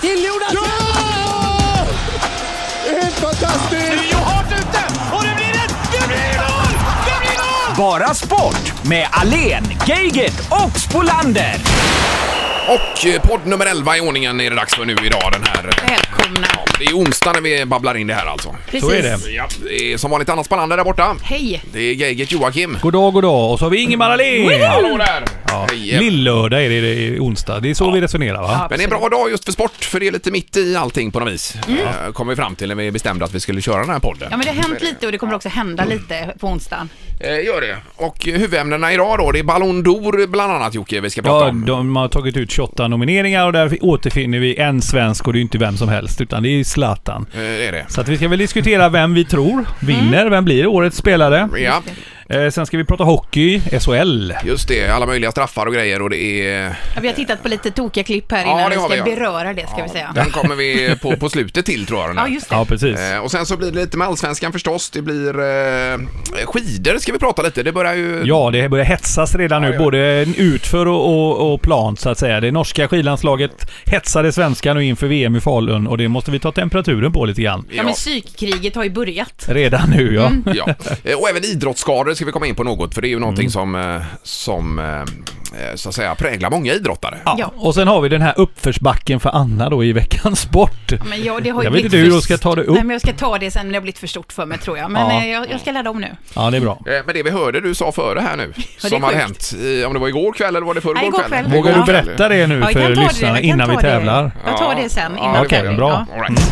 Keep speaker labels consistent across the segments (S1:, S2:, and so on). S1: Till Jonas!
S2: Ja! Helt fantastiskt!
S3: Rio hårt ute och det blir ett... Det blir mål! Det blir mål!
S4: Bara sport med Alen, Geigert och Spolander.
S5: Och eh, podd nummer 11 i ordningen är det dags för nu idag den här... eh,
S1: Välkomna!
S5: Ja, det är onsdag när vi babblar in det här alltså.
S1: Precis.
S6: Så är det.
S5: Ja, det är som vanligt Anna Spanander där borta.
S1: Hej!
S5: Det är Geigert Joakim.
S6: God dag, god dag. Och så har vi Ingemar Ahlén.
S5: Hallå där!
S6: Ja,
S5: Hej. eh.
S6: Lillördag är det, det är onsdag. Det är så vi resonerar va?
S5: Men det är en bra dag just för sport, för det är lite mitt i allting på något vis. Eh, Kom vi fram till när vi bestämde att vi skulle köra den här podden.
S1: Ja men det har hänt lite och det kommer också hända lite på onsdagen.
S5: Eh, Gör det. Och eh, huvudämnena idag då, det är Ballon d'Or bland annat Jocke vi ska prata
S6: Ja,
S5: om.
S6: de har tagit ut 28 nomineringar och där återfinner vi en svensk och det är inte vem som helst utan det är Zlatan.
S5: Eh, Det är det.
S6: Så att vi ska väl diskutera vem vi tror
S4: Mm.
S6: vinner, vem blir årets spelare.
S5: Ja,
S6: Eh, sen ska vi prata hockey, SHL.
S5: just det. Alla möjliga straffar och grejer och det är...
S1: Ja, Vi har tittat på lite tokiga klipp här
S5: Ja,
S1: innan
S5: det
S1: vi
S5: har
S1: ska
S5: vi, ja.
S1: beröra det ska vi säga.
S5: Den kommer vi på, på slutet till tror jag. Den här.
S1: Ja just det.
S6: Ja, precis.
S5: Eh, Och sen så blir det lite med allsvenskan förstås. Det blir eh, skidor ska vi prata lite. Det börjar ju...
S6: Ja, det börjar hetsas redan nu, både utför och, och, och plant så att säga. Det norska skidlandslaget hetsar det svenska nu inför VM i Falun och det måste vi ta temperaturen på lite grann.
S1: Ja men psykkriget har ju börjat. Mm.
S6: Redan nu ja.
S5: Ja. Eh, Och även idrottsskador ska vi komma in på något, för det är ju
S6: Mm.
S5: någonting som, eh, som eh, eh, så att säga präglar många idrottare.
S1: Ja.
S6: Ja. Och sen har vi den här uppförsbacken för Anna då i veckans sport.
S1: Men ja, det har ju
S6: Jag vet
S1: blivit
S6: inte hur
S1: för-
S6: jag ska ta det upp.
S1: Nej men jag ska ta det sen när det har blivit för stort för mig tror jag. Men
S6: Ja.
S1: eh, jag, jag ska ladda om nu.
S6: Ja, det är bra.
S5: Eh, Men det vi hörde du sa före här nu,
S1: är
S5: som har
S1: sjukt.
S5: hänt, i- om det var igår kväll eller var det
S1: Nej,
S5: förrgår
S1: igår
S5: kväll?
S1: kväll.
S6: Vågar
S1: Ja.
S6: du berätta det nu
S1: jag
S6: för
S1: ta det,
S6: lyssnarna
S1: jag kan ta
S6: innan vi
S1: det.
S6: tävlar?
S1: Jag tar det sen innan
S5: det
S1: vi
S5: får
S6: Okej,
S1: tävlar.
S6: bra.
S1: Ja.
S5: All right.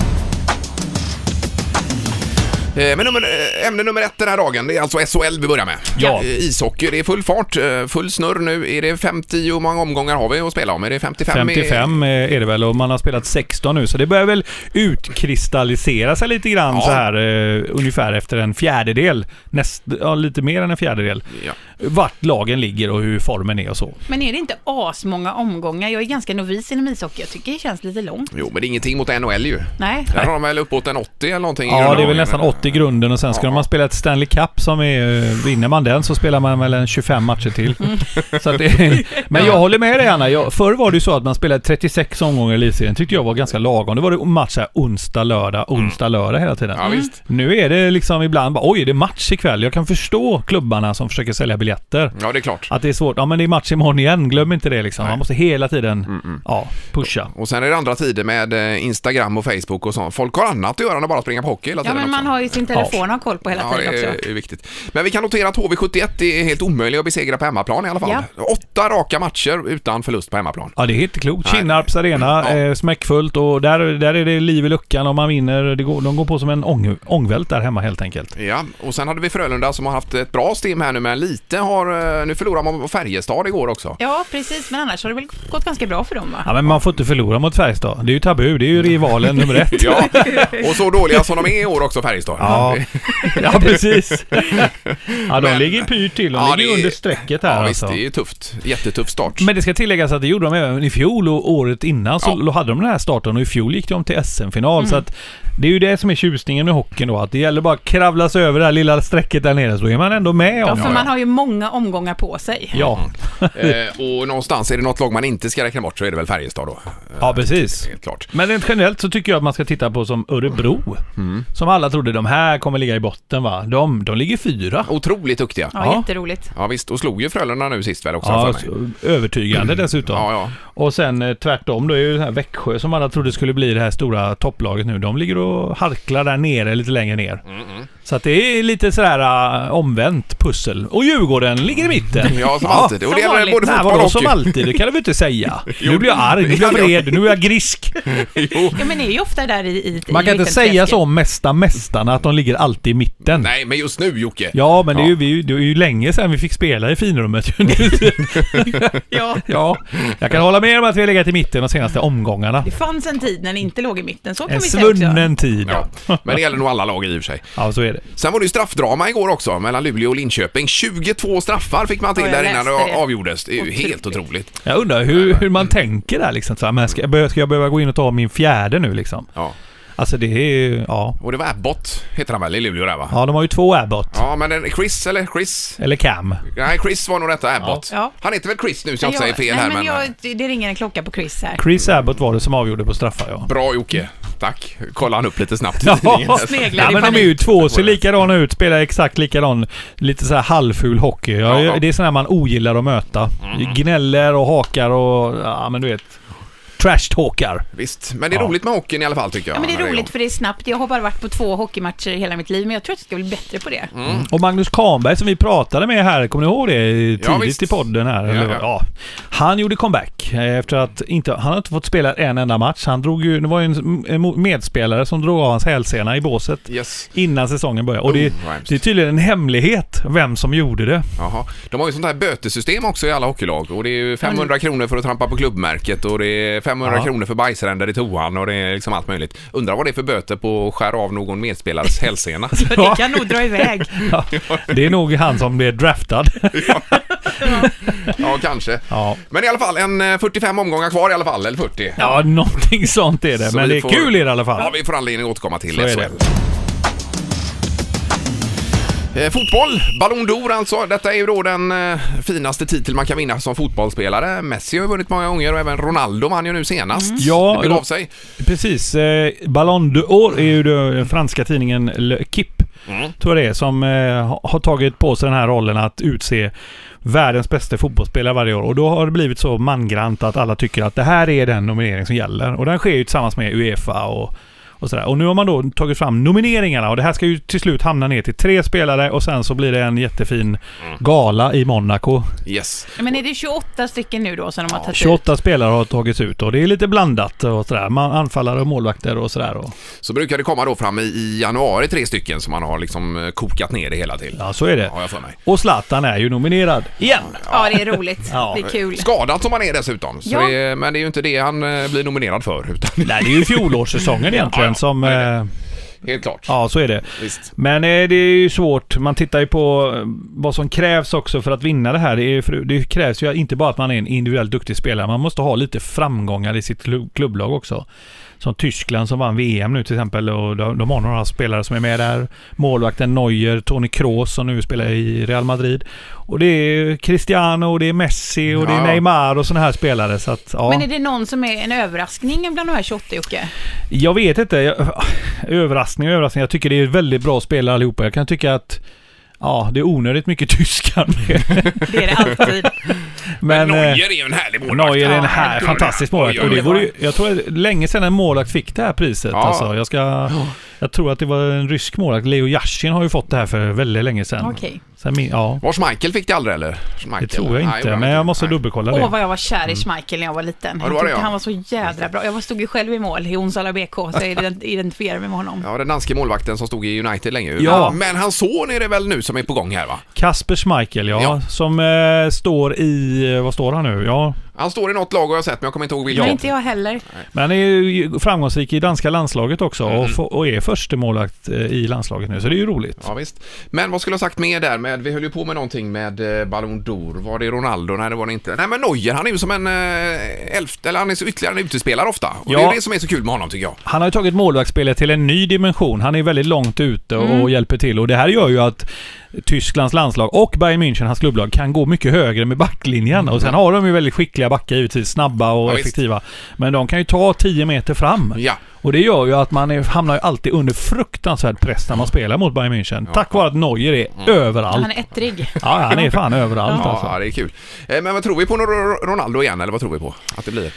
S5: Eh, Men nummer, eh, ämne nummer ett den här dagen, det är alltså SHL vi börjar med.
S6: Ja.
S5: Eh, Ishockey, det är full fart, eh, full snurr nu. Är det 50, hur många omgångar har vi att spela om? Är det 55?
S6: 55 eh, är det väl och man har spelat 16 nu så det börjar väl utkristallisera sig lite grann
S5: Ja.
S6: så här eh, ungefär efter en fjärdedel. Näst, ja, lite mer än en fjärdedel.
S5: Ja.
S6: Vart lagen ligger och hur formen är och så.
S1: Men är det inte asmånga omgångar? Jag är ganska novis inom ishockey. Jag tycker det känns lite långt.
S5: Jo, men det är ingenting mot NHL ju.
S1: Nej.
S5: Där har de väl uppåt en 80 eller någonting? i
S6: Ja,
S5: grundlagen,
S6: det är väl nästan
S5: men-
S6: 80 i grunden och sen ska
S5: Ja.
S6: man spela ett Stanley Cup som är... eh, Vinner man den så spelar man väl en 25 matcher till. Så att det, men jag håller med dig Anna. Jag, förr var det ju så att man spelade 36 omgångar i elitserien. tyckte jag var ganska lagom. Det var det match här onsdag, lördag, onsdag, lördag hela tiden.
S5: Mm. Ja, visst.
S6: Nu är det liksom ibland bara oj, det är match ikväll. Jag kan förstå klubbarna som försöker sälja biljetter.
S5: Ja, det är klart.
S6: Att det är svårt. Ja, men det är match imorgon igen. Glöm inte det liksom. Man måste hela tiden
S5: Mm,
S6: Ja, pusha.
S5: Och sen är det andra tider med eh, Instagram och Facebook och sånt. Folk har annat att göra än att bara springa på hockey hela
S1: Ja,
S5: tiden
S1: men man
S5: också.
S1: har ju sin telefon att ha koll på hela
S5: Ja, det
S1: tiden
S5: är,
S1: också.
S5: är viktigt. Men vi kan notera att HV71 är helt omöjlig att besegra på hemmaplan i alla fall. Åtta raka matcher utan förlust på hemmaplan.
S6: Ja, det är helt klokt.
S5: Nej.
S6: Kinnarps arena,
S5: Ja.
S6: eh, smäckfullt och där, där är det liv i luckan om man vinner. Det går, de går på som en ång, ångvält där hemma helt enkelt.
S5: Ja, och sen hade vi Frölunda som har haft ett bra stim här nu, men lite har... eh, Nu förlorade man på Färjestad igår också.
S1: Ja, precis. Men annars har det väl gått ganska bra för dem, va?
S6: Ja, men man får inte förlora mot Färjestad. Det är ju tabu. Det är ju rivalen nummer ett.
S5: Ja, och så dåliga som de är i år också, Färjestad.
S6: Ja, ja precis. Ja, de
S5: Men-
S6: ligger pyrt till. De
S5: Ja,
S6: ligger
S5: det är-
S6: under strecket här
S5: Ja, visst,
S6: alltså.
S5: det är ju tufft. Jättetuff start.
S6: Men det ska tilläggas att det gjorde de även i fjol och året innan så hade de den här starten och i fjol gick de till SM-final.
S5: Mm.
S6: Så att det är ju det som är tjusningen med hockeyn då. Att det gäller bara att kravla sig över det här lilla strecket där nere så är man ändå med
S1: Ja,
S6: om
S1: för
S6: det.
S1: man har ju många omgångar på sig.
S6: Ja,
S5: Eh, och någonstans, är det något lag man inte ska räkna bort så är det väl Färjestad då. Eh,
S6: ja precis.
S5: Helt klart.
S6: Men rent generellt så tycker jag att man ska titta på som Örebro.
S5: Mm.
S6: Som alla trodde, de här kommer ligga i botten va? De, de ligger fyra.
S5: Otroligt duktiga.
S1: Ja,
S6: Ja.
S1: jätteroligt.
S5: Ja visst, och slog ju Frölunda nu sist väl också
S6: Ja,
S5: för mig.
S6: så- övertygande dessutom.
S5: Mm. Ja, ja.
S6: Och sen eh, tvärtom då är ju det här Växjö som alla trodde skulle bli det här stora topplaget nu. De ligger och harklar där nere, lite längre ner.
S5: Mm,
S6: Så att det är lite sådär eh, omvänt pussel. Och Djurgården ligger i mitten.
S5: Ja, som alltid. Och
S1: som
S5: det gäller
S1: vanligt.
S5: både
S6: Nej,
S5: fotboll och
S6: vadå
S5: hockey.
S6: som alltid? Det kan du väl inte säga? Nu blir jag arg, nu blir jag vred, nu är jag grisk.
S1: Ja, men det är ju ofta där i... i
S6: Man
S1: i
S6: kan inte säga
S1: mittenträsket.
S6: så om mesta mästarna, att de ligger alltid i mitten.
S5: Nej, men just nu Jocke.
S6: Ja, men Det, är
S5: Ja.
S6: ju, vi- det är ju länge sedan vi fick spela i finrummet.
S1: Ja.
S6: ja, jag kan hålla med om att vi har legat i mitten de senaste omgångarna.
S1: Det fanns en tid när ni inte låg i mitten, så kan
S6: En
S1: vi säga också.
S6: svunnen tid.
S5: Ja. Men det gäller nog alla lag i och för sig.
S6: Ja, så är det.
S5: Sen var det ju straffdrama igår också mellan Luleå och Linköping. 22 straffar fick man till
S1: Ja, jag
S5: där innan det,
S1: läste det.
S5: avgjordes. Det är ju helt
S1: Otroligt.
S5: otroligt.
S6: Jag undrar hur, hur man tänker där liksom. Så här, men ska, jag be- ska jag behöva gå in och ta min fjärde nu liksom?
S5: Ja.
S6: Alltså det är ju, ja.
S5: Och det var Abbott, heter han väl, i Luleå där va?
S6: Ja, de har ju två Abbott.
S5: Ja, men den, Chris eller Chris?
S6: Eller Cam.
S5: Nej, Chris var nog detta, Abbott.
S1: Ja.
S5: Han heter väl Chris nu så jag inte
S1: Jag-
S5: säger fel
S1: nej,
S5: här
S1: men
S5: men...
S1: jag, det- det ringer en klocka på Chris här.
S6: Chris Abbott var det som avgjorde på straffar ja.
S5: Bra Jocke, tack. Kolla han upp lite snabbt i
S6: Ja,
S5: tidningen.
S1: sneglar
S6: ja
S1: i
S6: men de är ju två, ser likadana ut, spelar exakt likadan, lite så här halvful hockey. Ja,
S5: Ja. Mm.
S6: Det är sådana här man ogillar att möta. Gnäller och hakar och, ja men du vet. Trash-talkar.
S5: Visst, men det är
S6: Ja.
S5: roligt med hockeyn i alla fall tycker jag.
S1: Ja, men det är
S5: Maria.
S1: roligt för det är snabbt. Jag har bara varit på två hockeymatcher i hela mitt liv, men jag tror att jag ska bli bättre på det.
S5: Mm.
S6: Och Magnus Kahnberg som vi pratade med här, kommer ni ihåg det?
S5: Ja,
S6: Tidigt
S5: visst.
S6: i podden här.
S5: Ja,
S6: eller
S5: ja.
S6: vad? Ja. Han gjorde comeback eh, efter att inte, han har inte fått spela en enda match. Han drog ju, det var ju en en mo- medspelare som drog av hans hälsena i båset
S5: Yes.
S6: innan säsongen började. Och det,
S5: Oh, vad hemskt.
S6: det är tydligen en hemlighet vem som gjorde det.
S5: Jaha. De har ju sånt här bötesystem också i alla hockeylag och det är ju 500 kronor för att trampa på klubbmärket och det är 500
S6: Mm. Ja.
S5: kronor för bajsränder i toan och det är liksom allt möjligt. Undrar vad det är för böter på att skära av någon medspelares hälsena.
S1: För det kan nog dra iväg.
S6: Ja, det är nog han som blev draftad.
S5: ja, kanske.
S6: Ja.
S5: Men i alla fall, en eh, 45 omgångar kvar i alla fall, eller 40.
S6: Ja, någonting sånt är det.
S5: Så
S6: Men
S5: vi
S6: det är
S5: får-
S6: kul i det i alla
S5: Ja,
S6: fall.
S5: vi får anledning att återkomma till
S6: Så är
S5: det. Eh, fotboll, Ballon d'Or alltså. Detta är ju då den eh, finaste titel man kan vinna som fotbollsspelare. Messi har ju vunnit många gånger och även Ronaldo vann ju nu senast.
S6: Mm. Ja,
S5: det begav sig.
S6: Precis. Eh, Ballon d'Or är ju då den franska tidningen Le Kip,
S5: Mm.
S6: tror jag det är, som eh, ha- har tagit på sig den här rollen att utse världens bästa fotbollsspelare varje år. Och då har det blivit så mangrant att alla tycker att det här är den nominering som gäller. Och den sker ju tillsammans med Uefa och och, sådär. och nu har man då tagit fram nomineringarna och det här ska ju till slut hamna ner till tre spelare och sen så blir det en jättefin
S5: Mm.
S6: gala i Monaco.
S5: Yes.
S1: Men är det 28 stycken nu då som de har tagit
S6: 28 spelare har tagits ut och det är lite blandat och sådär. Man anfallare och målvakter och sådär. Och,
S5: Så brukar det komma då fram i, i januari tre stycken som man har liksom eh, kokat ner det hela till.
S6: ja, så är det.
S5: Har jag för mig.
S6: Och Zlatan är ju nominerad. Igen!
S1: Ja, det är roligt.
S6: Ja.
S1: Det är kul.
S5: Skadad som han är dessutom. Så
S1: Ja.
S5: det, men det är ju inte det han eh, blir nominerad för, utan
S6: Nej, det är ju fjolårssäsongen egentligen
S5: ja,
S6: som...
S5: det
S6: eh,
S5: helt klart.
S6: Ja, så är det.
S5: Visst.
S6: Men eh, det är ju svårt. Man tittar ju på eh, vad som krävs också för att vinna det här. Det, är, ju- för det krävs ju inte bara att man är en individuellt duktig spelare. Man måste ha lite framgångar i sitt klu- klubblag också. Som Tyskland som vann VM nu till exempel. Och de, de har några spelare som är med där. Målvakten Neuer, Tony Kroos som nu spelar i Real Madrid. Och det är Cristiano, och det är Messi och det
S5: Ja.
S6: är Neymar och sådana här spelare. Så att, ja.
S1: Men är det någon som är en överraskning bland de här 28, Jocke?
S6: Jag vet inte. Jag, överraskning och överraskning. Jag tycker det är väldigt bra spelare allihopa. Jag kan tycka att Ja, det är onödigt mycket tyskar med.
S1: Det är det alltid.
S6: Men...
S5: Men
S6: eh,
S5: Neuer är ju en härlig målvakt.
S6: Neuer är en här,
S5: herregud.
S6: fantastisk målvakt.
S5: Oj, oj,
S6: Och det
S5: oj.
S6: vore, ju- jag tror att länge sedan en målvakt fick det här priset.
S5: Ja.
S6: Alltså, jag, ska, jag tror att det var en rysk målvakt. Leo Yashin har ju fått det här för väldigt länge sedan.
S1: Okej.
S6: Sen min, ja,
S5: Var Schmeichel fick det aldrig eller? Schmeichel.
S6: det tror jag
S5: Nej,
S6: inte.
S5: gjorde han
S6: men jag måste
S5: Nej.
S6: dubbelkolla
S1: Åh,
S6: det.
S1: vad jag var kär i Schmeichel när jag var liten.
S5: Mm. Ja,
S1: Jag
S5: det var det,
S1: tyckte
S5: ja.
S1: han var så jädra bra. Jag var- stod ju själv i mål i Onsala BK, så jag ident- identifierade mig med honom.
S5: Ja, den danske målvakten som stod i United länge.
S6: Ja.
S5: Men hans son är det väl nu som är på gång här va?
S6: Kasper Schmeichel, ja.
S5: Ja.
S6: Som eh, står i... eh, Vad står han nu? Ja,
S5: Han står i något lag har jag sett men jag kommer inte ihåg vilket.
S1: Men inte jag heller.
S6: Men han är ju framgångsrik i danska landslaget också
S5: Mm.
S6: och, få- och är förste målvakt eh, i landslaget nu, så det är ju roligt.
S5: Ja, visst. Men vad skulle jag ha sagt mer där? Med, vi höll ju på med någonting med eh, Ballon d'Or. Var det Ronaldo? Nej, det var det inte. Nej, men Neuer, han är ju som en eh, elfte, eller han är så ytterligare en utespelare ofta. Och det
S6: Ja.
S5: är det som är så kul med honom tycker jag.
S6: Han har ju tagit målvaktsspelet till en ny dimension. Han är väldigt långt ute och
S1: Mm.
S6: hjälper till och det här gör ju att Tysklands landslag och Bayern München, hans klubblag, kan gå mycket högre med backlinjen. Och sen har de ju väldigt skickliga backar givetvis, snabba och
S5: Mm. Ja, visst.
S6: effektiva. Men de kan ju ta 10 meter fram.
S5: Ja.
S6: Och det gör ju att man är, hamnar ju alltid under fruktansvärd press när man spelar mot Bayern München. Tack vare att Neuer är överallt.
S1: Han är ettrig.
S6: Ja, han är fan överallt alltså.
S5: Mm. Ja, det är kul. Eh, men vad tror vi på Ro- Ronaldo igen, eller vad tror vi på att det blir?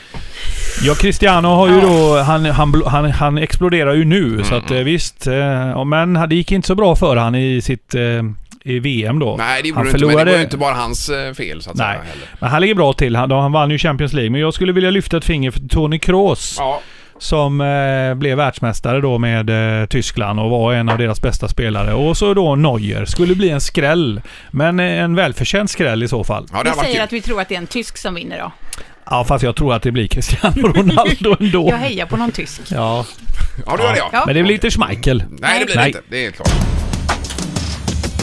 S6: Ja, Cristiano har ju då... Han, han, bl- han, han exploderar ju nu, så
S5: Mm.
S6: att eh, visst. Eh, ja, men det gick inte så bra för han i sitt... Eh, I VM då.
S5: Nej, det gjorde
S6: han
S5: det inte, men det var ju inte bara hans eh, fel så att
S6: Nej,
S5: säga. Heller.
S6: men han ligger bra till. Han, då, han vann ju Champions League. Men jag skulle vilja lyfta ett finger för Toni Kroos.
S5: Ja,
S6: Som eh, blev världsmästare då med eh, Tyskland och var en av deras bästa spelare. Och så då Neuer. Skulle bli en skräll. Men eh, en välförtjänt skräll i så fall.
S5: ja det
S1: Vi
S5: har varit kul.
S1: säger att vi tror att det är en tysk som vinner då.
S6: Ja, fast jag tror att det blir Cristiano Ronaldo ändå.
S1: Jag hejar på någon tysk.
S6: Ja,
S5: Ja, du gör det ja.
S1: Ja.
S6: men det blir inte Schmeichel.
S5: Nej, det blir det
S6: Nej.
S5: inte. Det är helt klart.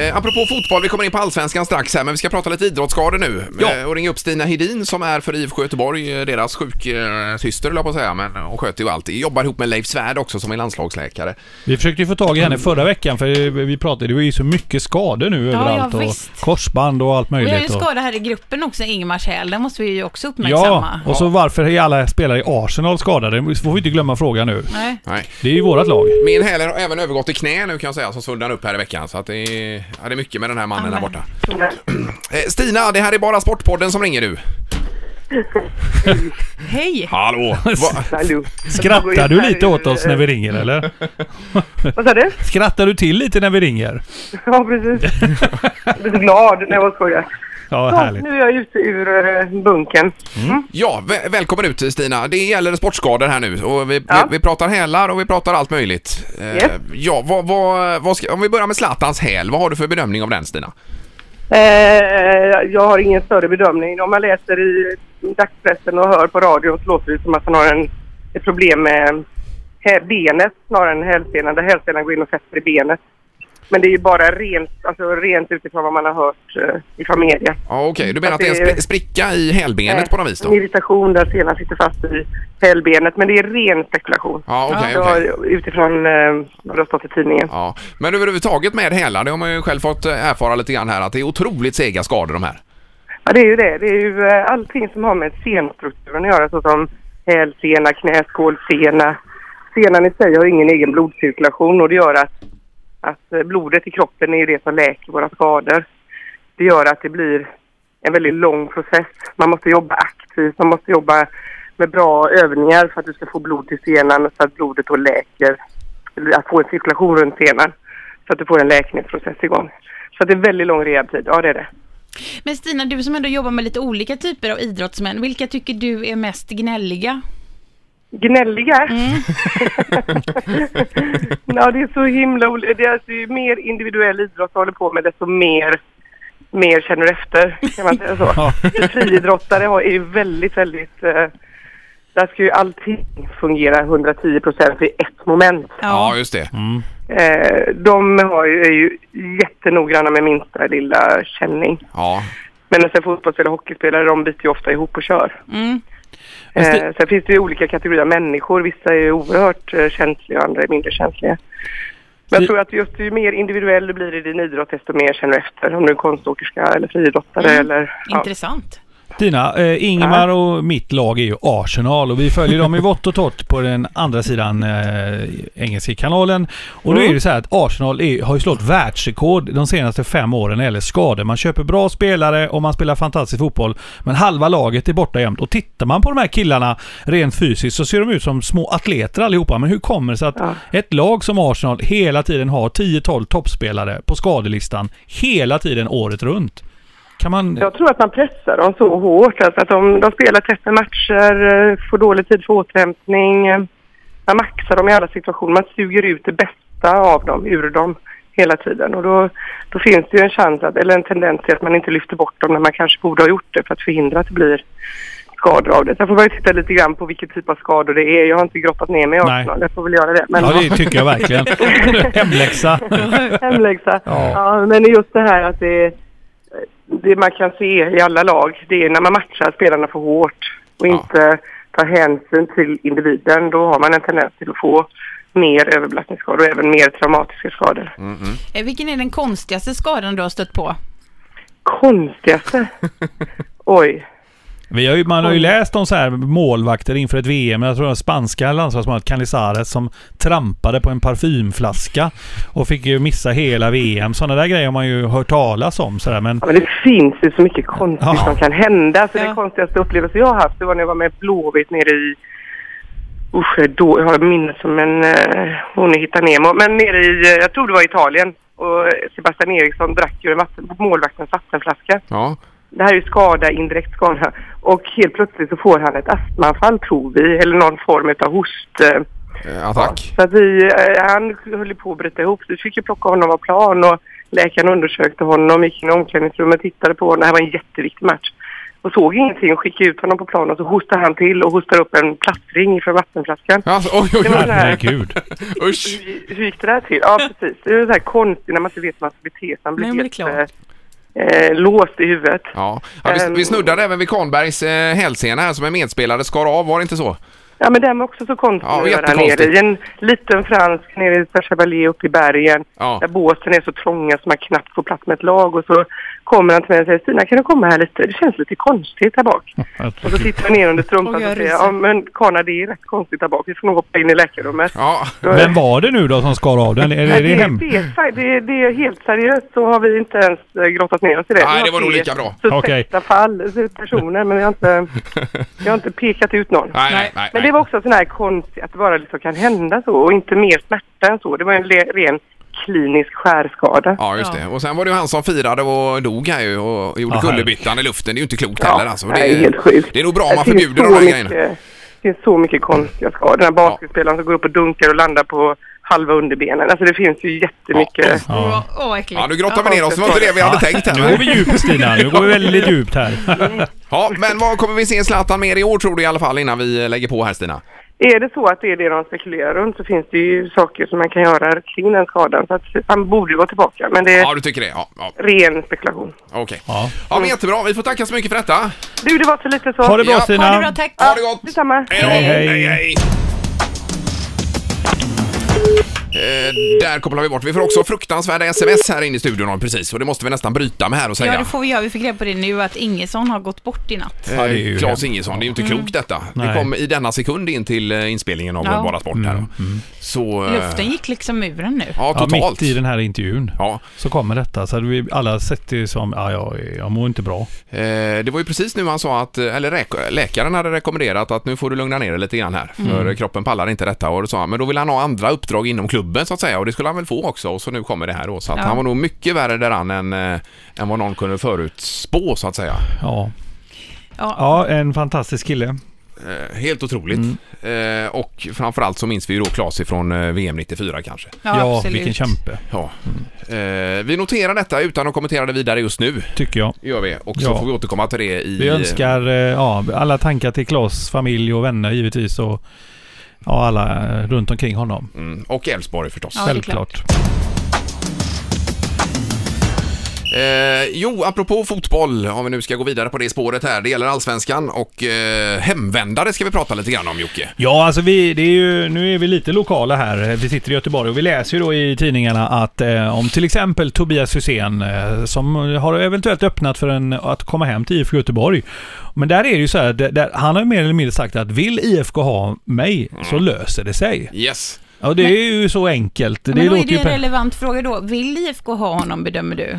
S5: Eh, apropå fotboll, vi kommer in på allsvenskan strax här, men vi ska prata lite idrottsskador nu.
S6: Ja.
S5: Eh, och ringa upp Stina Hedin som är för IFK Göteborg, eh, deras sjuksyster höll jag på att säga, men eh, hon sköter ju allt. Jobbar ihop med Leif Svärd också som är landslagsläkare.
S6: Vi försökte ju få tag i henne förra veckan för vi pratade, det var ju så mycket skador nu
S1: ja,
S6: överallt och
S1: visst.
S6: korsband och allt
S1: Vi har ju
S6: möjligt. och-
S1: skada här i gruppen också, Ingmar Kjell. Den måste vi ju också uppmärksamma.
S6: Ja, och så varför är alla spelare i Arsenal skadade? Det får vi inte glömma frågan nu.
S1: Nej.
S5: Nej.
S6: Det är ju vårat lag.
S5: Min häl har även övergått till knä nu kan jag säga, som svullnade upp här i veckan. Så att det, är, ja, det är mycket med den här mannen där borta. Eh, Stina, det här är bara Sportpodden som ringer du.
S1: Hej!
S5: Hallå! Va?
S2: Hallå.
S6: Skrattar du lite åt oss när vi ringer eller?
S2: Vad sa du?
S6: Skrattar du till lite när vi ringer?
S2: Ja, precis. Jag blir så glad. Nej, vad skojar.
S6: Ja,
S2: Ja,
S6: härligt.
S2: nu är jag ute ur eh, bunkern.
S5: Ja, vä- välkommen ut Stina. Det gäller sportskador här nu och vi,
S2: Ja.
S5: vi, vi pratar hälar och vi pratar allt möjligt. Eh,
S2: Yes.
S5: Ja, vad, vad, vad ska, om vi börjar med Zlatans häl, vad har du för bedömning av den Stina?
S2: Eh, jag har ingen större bedömning. Om man läser i dagspressen och hör på radio så låter det som att han har en, ett problem med hä- benet snarare än hälsenan. Där hälsenan går in och fäster i benet. Men det är ju bara rent, alltså rent utifrån vad man har hört eh, ifrån media.
S5: Ja, Okej, du menar att
S2: Att
S5: det är en
S2: det-
S5: spri- spricka i hälbenet på något vis
S2: Eh, En
S5: då?
S2: irritation där senan sitter fast i hälbenet. Men det är ren spekulation.
S5: Ja, okej,
S2: Det
S5: okej.
S2: var utifrån eh, vad det har stått i tidningen.
S5: Ja, men överhuvudtaget med hälar, det har man ju själv fått eh, erfara lite grann här, att det är otroligt sega skador de här.
S2: Ja, det är ju det. Det är ju eh, allting som har med senstrukturen att göra såsom hälsena, knäskålsena. Senan i sig har ingen egen blodcirkulation och det gör att, att eh, blodet i kroppen är ju det som läker våra skador. Det gör att det blir en väldigt lång process. Man måste jobba aktivt, man måste jobba med bra övningar för att du ska få blod till senan så att blodet då läker, eller att få en cirkulation runt senan så att du får en läkningsprocess igång. Så att det är väldigt lång rehabtid, ja det är det.
S1: Men Stina, du som ändå jobbar med lite olika typer av idrottsmän, vilka tycker du är mest gnälliga?
S2: Gnälliga? ja, det är så himla olika. Det är alltså, ju mer individuell idrott du håller på med, desto mer, mer känner du efter. Kan man säga så? Friidrottare har- är ju väldigt, väldigt... Eh, där ska ju allting fungera 110 procent i ett moment.
S5: Ja, just det.
S2: Eh, de har ju, är ju jättenoggranna med minsta lilla känning.
S5: Ja.
S2: Men sen fotbollsspelare och hockeyspelare, de biter ju ofta ihop och kör.
S1: Mm.
S2: Eh, sen finns det ju olika kategorier av människor. Vissa är ju oerhört eh, känsliga och andra är mindre känsliga.
S6: Vi-
S2: Men jag tror att just ju mer individuell du blir i din idrott, desto mer känner du efter. Om du är konståkerska eller friidrottare eller... Ja.
S1: Intressant.
S6: Tina, eh, Ingmar och mitt lag är ju Arsenal och vi följer dem i vått och torrt på den andra sidan eh, Engelska kanalen. Och nu är det så här att Arsenal är, har ju slått världsrekord de senaste fem åren när det gäller skador. Man köper bra spelare och man spelar fantastisk fotboll. Men halva laget är borta jämt. Och tittar man på de här killarna rent fysiskt så ser de ut som små atleter allihopa. Men hur kommer det sig att ett lag som Arsenal hela tiden har 10-12 toppspelare på skadelistan hela tiden året runt? Kan man...
S2: Jag tror att man pressar dem så hårt. Alltså att de, de spelar 30 matcher, eh, får dålig tid för återhämtning. eh, Man maxar dem i alla situationer. Man suger ut det bästa av dem, ur dem, hela tiden. Och då, då finns det ju en chans, att, eller en tendens till att man inte lyfter bort dem när man kanske borde ha gjort det för att förhindra att det blir skador av det. Sen får man ju titta lite grann på vilken typ av skador det är. Jag har inte grottat ner mig i
S6: Nej.
S2: Arsenal. Jag får väl göra det. Men,
S6: Ja, det tycker jag verkligen. Hemläxa.
S2: Hemläxa.
S6: Ja.
S2: Ja. men just det här att det, det man kan se i alla lag, det är när man matchar spelarna för hårt och
S5: Ja.
S2: inte tar hänsyn till individen, då har man en tendens till att få mer överbelastningsskador och även mer traumatiska skador.
S1: Eh, Vilken är den konstigaste skadan du har stött på?
S2: Konstigaste? Oj.
S6: Vi har ju, man har ju läst om så här målvakter inför ett VM. Jag tror det var spanska landslagsmålet Canizares som trampade på en parfymflaska och fick ju missa hela VM. Sådana där grejer har man ju hört talas om. Så där. Men
S2: Ja, men det finns ju så mycket konstigt
S6: Ja.
S2: som kan hända. Så
S1: Ja.
S2: Den konstigaste upplevelsen jag har haft det var när jag var med Blåvitt nere i... Usch, jag är då, jag har minnet som en... eh, hon i Hitta Nemo. Men nere i, eh, jag tror det var Italien. Och eh, Sebastian Eriksson drack ju en vatten, målvaktens vattenflaska.
S5: Ja.
S2: Det här är ju skada, indirekt skada. Och helt plötsligt så får han ett astmaanfall tror vi. Eller någon form av host. eh,
S5: Eh, Attack.
S2: så att vi, eh, han höll ju på att bryta ihop så vi fick ju plocka honom av plan och läkaren undersökte honom, gick in i omklädningsrummet, tittade på honom. Det här var en jätteviktig match. och såg ingenting och skickade ut honom på planen och så hostade han till och hostade upp en plastring från vattenflaskan.
S5: Alltså, oj, oj,
S2: Det var
S5: oj.
S2: den här-
S6: Herregud.
S5: Usch.
S2: Hur, hur gick det där till? Ja, precis. Det är så här konstigt när man inte vet hur man ska bete sig. Man blir
S1: Nej, men
S2: helt
S1: det är klart.
S2: eh, eh, låst i huvudet.
S5: Ja. Ja, vi,
S2: Ehm.
S5: vi snuddade även vid Kahnbergs eh, hälsena här som en medspelare skar av, var det inte så?
S2: Ja, men den var också så konstig
S5: Ja,
S2: att göra
S5: jättekonstigt.
S2: nere i en liten fransk nere i Saint-Chevalier uppe i bergen.
S5: Ja.
S2: Där båsen är så trånga så man knappt får plats med ett lag. Och så kommer han till mig och säger Stina kan du komma här lite? Det känns lite konstigt här bak. Och så sitter jag ner under strumpan och
S1: Oj, jag
S2: säger
S1: ryser.
S2: ja men Karna det är rätt konstigt där bak. Vi får nog hoppa in i läkarrummet.
S5: Ja.
S2: Då-
S6: Vem var det nu då som skar av den? Eller
S2: Nej,
S6: är det hem?
S2: det, är fel. det, är- det är helt seriöst så har vi inte ens eh, grottat ner oss i det.
S5: Nej,
S2: Vi har
S5: det var nog
S2: tre
S5: lika bra.
S2: Suspekta
S6: Okej.
S2: fall, så personer, men vi har, inte, vi har inte pekat ut någon.
S5: Nej, nej,
S1: Nej.
S5: nej.
S2: Men det var också en sån här konstigt att det bara liksom kan hända så och inte mer smärta än så. Det var en le- ren klinisk skärskada.
S5: Ja, just
S1: Ja.
S5: det. Och sen var det ju han som firade och dog här ju och gjorde
S6: Ja,
S5: kullerbyttan i luften. Det är ju inte klokt
S2: Ja,
S5: heller alltså.
S2: det är helt sjukt.
S5: Det är nog bra om man
S2: Det finns
S5: förbjuder
S2: så
S5: de här
S2: mycket-
S5: grejerna.
S2: Det finns så mycket konstiga skador. Den här basketspelaren som går upp och dunkar och landar på halva underbenen. Alltså det finns ju jättemycket.
S1: Åh,
S6: Ja.
S1: vad äckligt.
S5: Ja, nu grottar vi ner oss. Det var inte det vi hade tänkt
S6: Nu går
S5: här.
S6: vi djupt Stina, nu går vi väldigt djupt här.
S5: Ja, men vad kommer vi se Zlatan mer i år tror du i alla fall innan vi lägger på här Stina?
S2: Är det så att det är det de spekulerar runt så finns det ju saker som man kan göra kring den skadan. Så att han borde ju gå tillbaka. Men det är
S5: Ja, du tycker det? Ja, ja
S2: ren spekulation.
S5: okej. Ja.
S6: Ja.
S5: men jättebra. Vi får tacka så mycket för detta.
S2: Du, det var så lite så.
S6: Ha det bra
S5: Ja.
S6: Stina.
S1: Ha det bra, tack.
S5: Ha det gott!
S2: Detsamma.
S5: Hej, då.
S6: Hej, hej.
S5: hej, hej. Eh, Där kopplar vi bort. Vi får också fruktansvärda sms här inne i studion precis och det måste vi nästan bryta med här och säga. Eh,
S1: Ja, det får vi göra. Vi fick reda på det nu att Ingesson har gått bort i natt.
S6: Ja, det är ju
S5: Claes
S6: hemskt.
S5: Ingesson, det är ju inte
S1: Mm.
S5: klokt detta. Vi
S6: Nej. Mm.
S5: kom i denna sekund in till eh, inspelningen av
S1: Ja.
S5: Bara Sport här. då. Så... eh,
S1: Luften gick liksom muren nu.
S5: Ja,
S6: Ja,
S5: totalt.
S6: mitt i den här intervjun
S5: Ja,
S6: så kommer detta. Så hade vi alla sett det som, ja, jag, jag mår inte bra.
S5: eh, det var ju precis nu han sa att, eh, eller räk- läkaren hade rekommenderat att nu får du lugna ner dig lite grann här, för kroppen pallar inte detta. Och då sa han, men då vill han ha andra uppdrag inom klubben så att säga och det skulle han väl få också och så nu kommer det här då. Så att
S1: Ja.
S5: han var nog mycket värre däran än, eh, än vad någon kunde förutspå så att säga.
S6: Ja.
S1: Ja.
S6: ja, en fantastisk kille.
S5: Eh, helt otroligt. Eh, och framförallt så minns vi ju då Claes ifrån eh, VM 94 kanske.
S6: Ja,
S1: Ja, absolut.
S6: vilken kämpe,
S5: Ja. Eh, vi noterar detta utan att kommentera det vidare just nu.
S6: tycker jag.
S5: gör vi. Och så
S6: Ja.
S5: får vi återkomma till det i...
S6: Vi önskar eh, ja, alla tankar till Klas familj och vänner givetvis och ja, alla eh, runt omkring honom.
S5: Mm, Och Elfsborg förstås.
S1: Ja, det är
S6: Självklart.
S5: Eh, jo, apropå fotboll, om vi nu ska gå vidare på det spåret här. Det gäller allsvenskan och eh, hemvändare ska vi prata lite grann om, Jocke.
S6: Ja, alltså vi, det är ju, nu är vi lite lokala här. Vi sitter i Göteborg och vi läser ju då i tidningarna att eh, om till exempel Tobias Hysén eh, som har eventuellt öppnat för en, att komma hem till IFK Göteborg. Men där är det ju så här, där, där, han har ju mer eller mindre sagt att vill IFK ha mig så löser det sig.
S5: Yes.
S6: Ja, det är ju så enkelt. Det
S1: Men då är
S6: låter
S1: det
S6: ju
S1: en
S6: pe-
S1: relevant fråga då. Vill IFK ha honom bedömer du?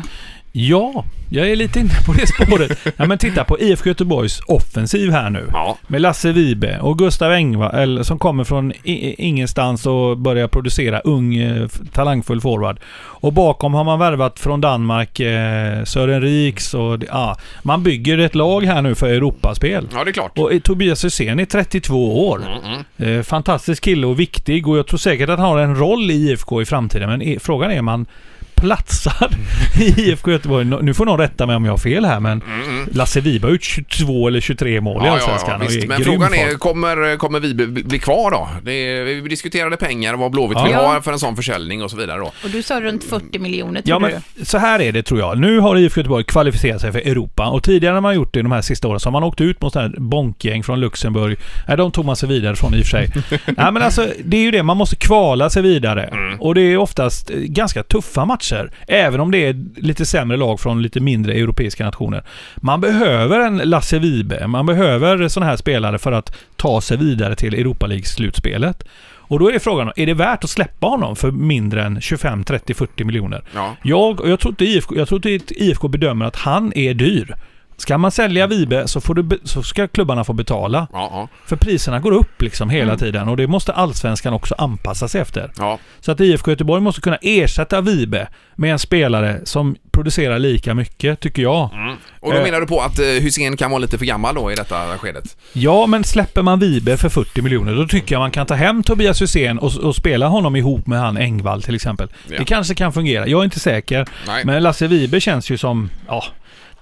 S6: Ja, jag är lite inne på det spåret. ja, men titta på IFK Göteborgs offensiv här nu.
S5: Ja.
S6: Med Lasse Vibe och Gustav Engvall som kommer från i- ingenstans och börjar producera ung eh, f- talangfull forward. Och bakom har man värvat från Danmark eh, Sören Riks och det- ja, man bygger ett lag här nu för Europaspel.
S5: Ja, det är klart.
S6: Och eh, Tobias Hysén är 32 år.
S5: Mm,
S6: Eh, fantastisk kille och viktig och jag tror säkert att han har en roll i IFK i framtiden men i- frågan är om han platsar i IFK Göteborg. Nå- Nu får någon rätta mig om jag har fel här men
S5: Mm,
S6: Lasse Wiberg har gjort 22 eller 23 mål i Allsvenskan och är
S5: visst.
S6: i
S5: Men
S6: grym
S5: frågan är,
S6: form.
S5: kommer, kommer vi bli- bli kvar då? Det är, vi diskuterade pengar och vad Blåvitt
S6: Ja.
S5: vill ha för en sån försäljning och så vidare då.
S1: Och du sa runt 40 miljoner tror
S6: Ja, men
S1: du?
S6: så här är det tror jag. Nu har IFK Göteborg kvalificerat sig för Europa och tidigare när man gjort det de här sista åren så har man åkt ut mot sådana här bonkgäng från Luxemburg. Nej, de tog man sig vidare från i och för sig. Nej, men alltså det är ju det, man måste kvala sig vidare. Och det är oftast eh, ganska tuffa matcher, även om det är lite sämre lag från lite mindre europeiska nationer. Man behöver en Lasse Vibe, man behöver sådana här spelare för att ta sig vidare till Europa League-slutspelet. Och då är det frågan, är det värt att släppa honom för mindre än 25, 30, 40 miljoner?
S5: Ja.
S6: Jag, jag, tror inte IFK, jag tror inte IFK bedömer att han är dyr. Ska man sälja Vibe så, får du, be- så ska klubbarna få betala.
S5: Ja, ja.
S6: För priserna går upp liksom hela tiden och det måste allsvenskan också anpassa sig efter.
S5: ja.
S6: Så att IFK Göteborg måste kunna ersätta Vibe med en spelare som producerar lika mycket, tycker jag.
S5: Och då
S6: Eh.
S5: menar du på att eh, Hysén kan vara lite för gammal då i detta skedet?
S6: Ja, men släpper man Vibe för 40 miljoner, då tycker jag man kan ta hem Tobias Hysén och, och spela honom ihop med han Engvall till exempel.
S5: Ja.
S6: Det kanske kan fungera. Jag är inte säker.
S5: Nej.
S6: Men Lasse Vibe känns ju som, ja, det-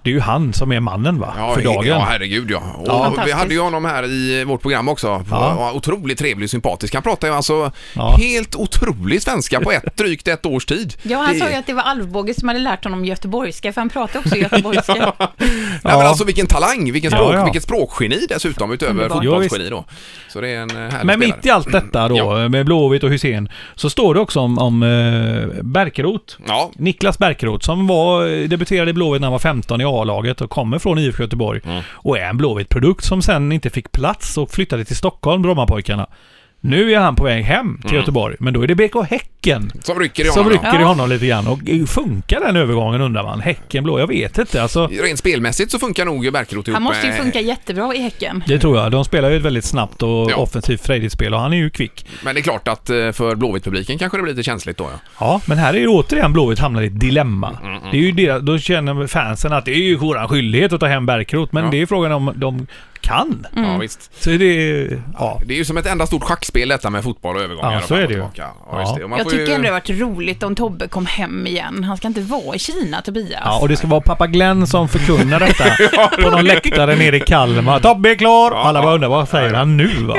S6: det är ju han som är mannen va?
S5: Ja,
S6: för dagen.
S5: ja, herregud ja. Och vi
S1: Fantastiskt.
S5: hade ju honom här i vårt program också.
S6: Ja.
S5: Otroligt trevlig, sympatisk. Han pratar ju alltså
S6: Ja.
S5: helt otrolig svenska på ett, drygt ett års tid.
S1: Ja, han
S5: Det-
S1: sa ju att det var Alvbåge som hade lärt honom göteborgska, för han pratade också göteborgska.
S5: Nej, men
S6: Ja.
S5: alltså vilken talang, vilken
S6: Ja,
S5: språk,
S6: ja.
S5: vilket språkgeni dessutom utöver
S1: Underbart.
S5: fotbollsgeni då. Så det är en eh, härlig
S6: Men
S5: spelare.
S6: mitt i allt detta då, med Blåvitt och Hussein, så står det också om, om eh, Berkerot.
S5: Ja,
S6: Niklas Berkerot som var, debuterade i Blåvitt när han var 15 i A-laget och kommer från IFK Göteborg och är en Blåvitt-produkt som sen inte fick plats och flyttade till Stockholm, Brommapojkarna. Nu är han på väg hem till Göteborg, men då är det BK Häcken
S5: som rycker i
S6: som
S5: honom. ja.
S6: Mm. rycker i
S1: Ja.
S6: honom lite grann. Och funkar den övergången undrar man? Häcken, Blå, jag vet inte. Alltså,
S5: Rent spelmässigt så funkar nog Bärkeroth ihop
S1: Han måste ju
S5: med-
S1: funka jättebra i Häcken.
S6: det tror jag. De spelar ju ett väldigt snabbt och
S5: Ja.
S6: offensivt frejdigt spel och han är ju kvick.
S5: Men det är klart att eh, för Blåvitt-publiken kanske det blir lite känsligt då ja. Mm,
S6: Ja, men här är ju återigen Blåvitt hamnar i ett dilemma. Det är ju deras, då känner fansen att det är ju vår skyldighet att ta hem Bärkroth, men
S5: Ja.
S6: det är frågan om de kan.
S1: Mm.
S5: ja visst.
S6: Så det... Ja.
S5: Det är ju som ett enda stort schackspel detta med fotboll och övergångar.
S6: Ja,
S5: och
S6: så
S5: fram
S6: är
S5: och
S6: det ju.
S5: tillbaka. Ja,
S6: Ja.
S5: just det. Och man
S1: Jag
S5: får ju-
S1: tycker ändå det har varit roligt om Tobbe kom hem igen. Han ska inte vara i Kina, Tobias.
S6: Ja, och det ska vara pappa Glenn som förkunnar detta på någon läktare nere i Kalmar. Tobbe är klar! Och alla bara undrar vad säger han nu va?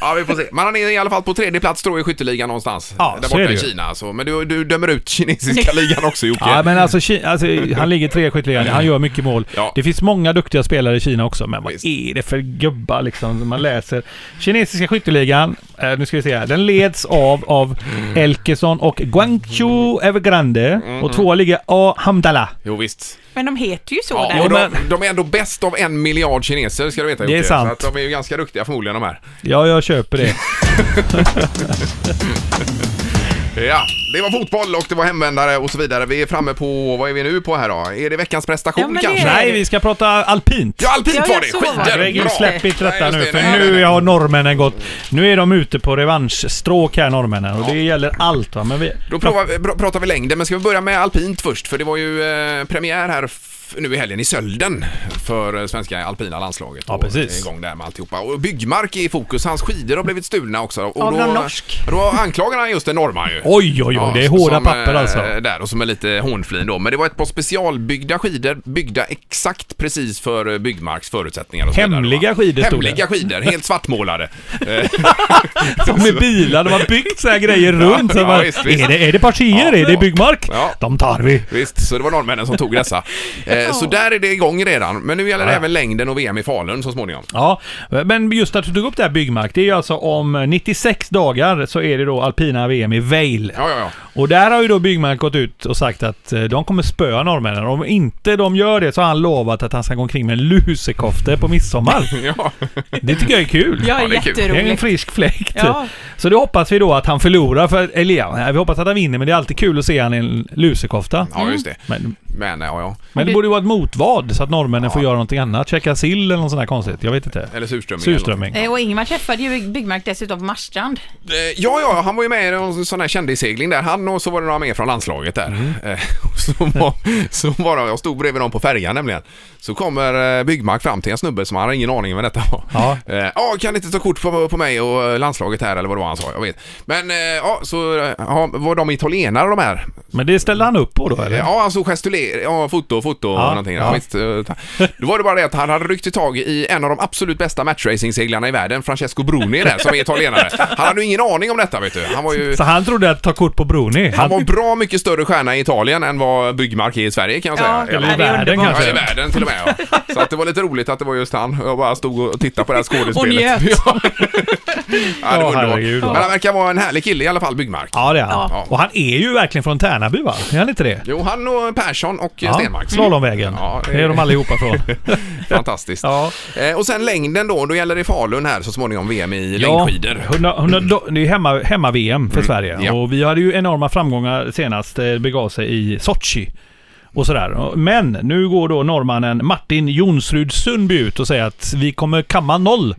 S5: Ja, vi får se. Men han är i alla fall på tredje plats tror jag i skytteligan någonstans.
S6: Ja,
S5: där
S6: så
S5: borta
S6: är det
S5: i
S6: ju.
S5: Kina. Så. Men du, du dömer ut kinesiska ligan också Jocke.
S6: Ja, men alltså, Ki- alltså han ligger trea i skytteligan. Han gör mycket mål.
S5: Ja.
S6: Det finns många duktiga spelare i Kina också, men vad
S5: Visst.
S6: är det för gubbar liksom? Man läser. Kinesiska skytteligan, eh, nu ska vi se här. Den leds av, av Elkesson och Guangzhou Evergrande.
S5: Mm-hmm.
S6: Och tvåa ligger A. Hamdallah.
S5: Jo, visst.
S1: Men de heter ju så
S5: Ja,
S1: där.
S5: och
S6: Jo,
S5: de,
S6: men-
S5: de är ändå bäst av en miljard kineser ska du veta
S6: Det är
S5: Jocke.
S6: sant.
S5: Så att de är ju ganska duktiga förmodligen de här.
S6: Ja, jag köper det.
S5: Ja, det var fotboll och det var hemvändare och så vidare. Vi är framme på, vad är vi nu på här då? Är det veckans prestation
S1: Ja, men det är-
S5: kanske?
S6: Nej, vi ska prata alpint.
S5: Ja, alpint
S1: Ja,
S5: var
S1: jag
S5: det!
S1: såg vad
S5: Skidor!
S1: det.
S6: Gregor,
S5: Bra.
S6: släpp inte
S5: Nej,
S6: detta
S5: just
S6: nu
S5: det.
S6: för
S5: Nej, nej,
S6: nu
S5: nej.
S6: har norrmännen gått... Nu är de ute på revanschstråk här norrmännen och det gäller allt va. Men vi,
S5: Då provar, pr- pratar vi längden, men ska vi börja med alpint först? För det var ju eh, premiär här f- nu i helgen i Sölden för eh, svenska alpina landslaget.
S6: Ja,
S5: Och
S6: precis.
S5: är Igång där med alltihopa. Och Byggmark är i fokus, hans skidor har blivit stulna också. Och
S1: Av någon norsk.
S5: Då anklagar han just en norrman ju.
S6: Oj, oj, oj. Det är hårda
S5: som,
S6: papper
S5: eh,
S6: alltså.
S5: Där och som är lite hånflin då. Men det var ett par specialbyggda skidor, byggda exakt precis för eh, Byggmarks förutsättningar. Och så vidare, va?
S6: Hemliga skidor stod det.
S5: Hemliga skidor, helt svartmålade. Eh,
S6: Som med bilar, de har byggt så här grejer runt.
S5: Alltså. Ja,
S6: så man,
S5: visst, visst.
S6: Är, det, är det partier?
S5: Ja.
S6: är det byggmark?
S5: Ja.
S6: De tar vi.
S5: Visst, så det var norrmännen som tog dessa. Eh, så där är det igång redan. Men nu gäller det
S6: Ja.
S5: även längden och VM i Falun så småningom.
S6: Ja, men just att du tog upp det här byggmark, det är ju alltså om 96 dagar så är det då alpina VM i Vail.
S5: Ja, ja, ja.
S6: Och där har ju då Byggmark gått ut och sagt att eh, de kommer spöa norrmännen. Om inte de gör det så har han lovat att han ska gå omkring med en lusekofte på midsommar.
S5: Ja,
S6: Det tycker jag är kul.
S1: Ja,
S5: Ja, det är kul.
S6: Det är en
S1: jätteroligt.
S6: frisk fläkt.
S1: Ja.
S6: Så det hoppas vi då att han förlorar för Elia. nej, Vi hoppas att han vinner, men det är alltid kul att se han i en lusekofta.
S5: ja just det.
S6: Men,
S5: Men ja, ja.
S6: men det borde ju vara ett motvad så att norrmännen får göra någonting annat. Käka sill eller något sånt där konstigt. Jag vet inte.
S5: Eller surströmming.
S6: Surströmming.
S1: Eh, Och Ingmar träffade ju Byggmark dessutom på Marstrand.
S5: Eh, Ja, ja, han var ju med i någon sån här kändissegling där. Han och så var det några mer från landslaget där.
S6: Mm.
S5: Eh, och Så var, så var de, jag stod bredvid dem på färjan nämligen. Så kommer eh, Byggmark fram till en snubbe som han har ingen aning om vem detta var.
S6: Ja.
S5: Eh, Ja, kan ni inte ta kort på, på mig och eh, landslaget här eller vad det var han sa, jag vet. Men eh, ja, så eh, ja, var de italienare de här
S6: Men det ställde han upp på då eller?
S5: Ja, han stod gestuler, ja, foto, foto och
S6: Ja,
S5: någonting. Ja.
S6: ja.
S5: Visst, eh, ta- då var det bara det att han hade ryckt i tag i en av de absolut bästa matchracingseglarna i världen, Francesco Bruni där, som är italienare. Han hade ju ingen aning om detta, vet du. Han var ju...
S6: Så han trodde att ta kort på Bruni.
S5: Han var bra mycket större stjärna i Italien än vad Byggmark är i Sverige kan jag säga.
S1: Ja,
S6: Eller i
S1: det är
S6: världen
S1: underbart.
S5: Ja, i
S6: kanske.
S5: världen till och med ja. Så att det var lite roligt att det var just han. Jag bara stod och tittade på det här skådespelet.
S1: Och njöt.
S5: Ja, ja det var
S6: herregud,
S5: underbart.
S6: ja.
S5: Men han verkar vara en härlig kille i alla fall, Byggmark.
S6: Ja, det är han.
S5: Ja.
S6: Och han är ju verkligen från Tärnaby va? Är han inte det?
S5: Jo, han och Persson och
S6: Ja,
S5: Stenmark.
S6: Slalomvägen.
S5: Ja, det-
S6: det är de allihopa från.
S5: Fantastiskt.
S6: Ja.
S5: Eh, och sen längden då, då gäller det Falun här så småningom VM i längdskidor. Mm.
S6: 100, 100, do- det är hemma, hemma VM för Sverige.
S5: ja.
S6: Och vi hade ju enorma framgångar senast. Det begav sig i Sochi. Och sådär. Och- Men nu går då norrmannen Martin Jonsrud Sundby ut och säger att vi kommer kamma noll.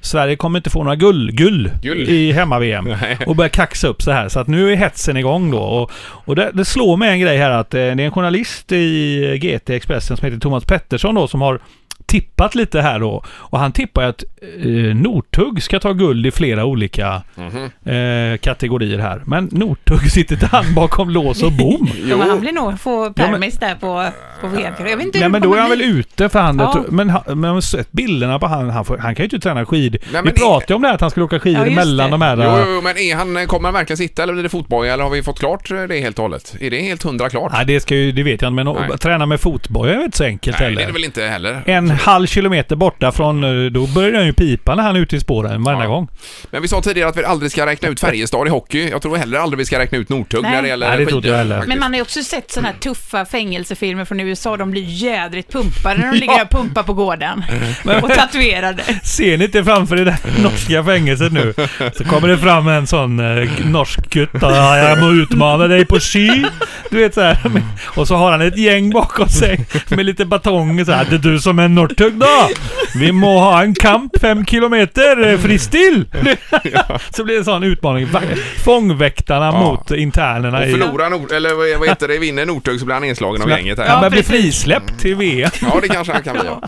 S6: Sverige kommer inte få några gull, gull,
S5: Mm. Gull.
S6: i hemma-VM.
S5: Nej.
S6: Och börjar kaxa upp så här. Så att nu är hetsen igång då. Och, och det, det slår mig en grej här att eh, det är en journalist i GT Expressen som heter Thomas Pettersson då som har tippat lite här då. Och han tippar ju att eh, Northug ska ta guld i flera olika
S5: Mhm.
S6: eh, kategorier här. Men Northug sitter inte han bakom lås och bom?
S7: Ja, men han blir nog få permis där på, på VM. Jag vet inte
S6: Nej
S7: hur
S6: men
S7: det
S6: då är
S7: kommer
S6: han väl
S7: bli.
S6: ute för han,
S7: Ja.
S6: jag tror- men, han- men jag har sett bilderna på han, han, får, han kan ju inte träna skid.
S5: men
S6: Vi
S5: det-
S6: pratade ju om det här att han skulle åka skidor
S7: Ja, just
S6: mellan
S7: det.
S6: de här.
S5: Jo, jo, jo, men är han, kommer han verkligen sitta eller blir det fotboja eller har vi fått klart eh, det helt och hållet? Är det helt hundra klart?
S6: Nej det, ska ju, det vet jag inte, men
S5: Nej.
S6: att träna med fotboja är väl inte så enkelt
S5: Nej,
S6: heller.
S5: det är det väl inte heller.
S6: En halv kilometer borta från, eh, då börjar han ju pipa när han är ute i spåren varenda
S5: Ja.
S6: gång.
S5: Men vi sa tidigare att vi aldrig ska räkna ut Färjestad i hockey. Jag tror heller aldrig vi ska räkna ut Northug
S1: Nej.
S5: när det gäller
S6: Nej, det tror
S5: skidor,
S6: inte jag heller.
S5: faktiskt.
S1: Men man har ju också sett sådana här tuffa fängelsefilmer från USA. De blir jädrigt pumpade när de ligger där och pumpar på gården. Och tatuerade.
S6: Ser ni inte framför er det där norska fängelset nu? Så kommer det fram en sån eh, norsk gutt. "Ja, Jag må utmana dig på ski. Du vet så här.
S5: Mm.
S6: Och så har han ett gäng bakom sig med lite batonger så här. Det är du som är norrtugg då? Vi må ha en kamp fem kilometer eh, fristil. Så blir det en sån utmaning. Va- Fångväktarna
S5: Ja.
S6: mot internerna.
S5: Och
S6: i-
S5: förlorar Nord, eller vad- vad heter det, vinner Northug så blir han inslagen av gänget här.
S6: Ja, men blir frisläppt till VM.
S5: Ja, det kanske han kan bli. Ja.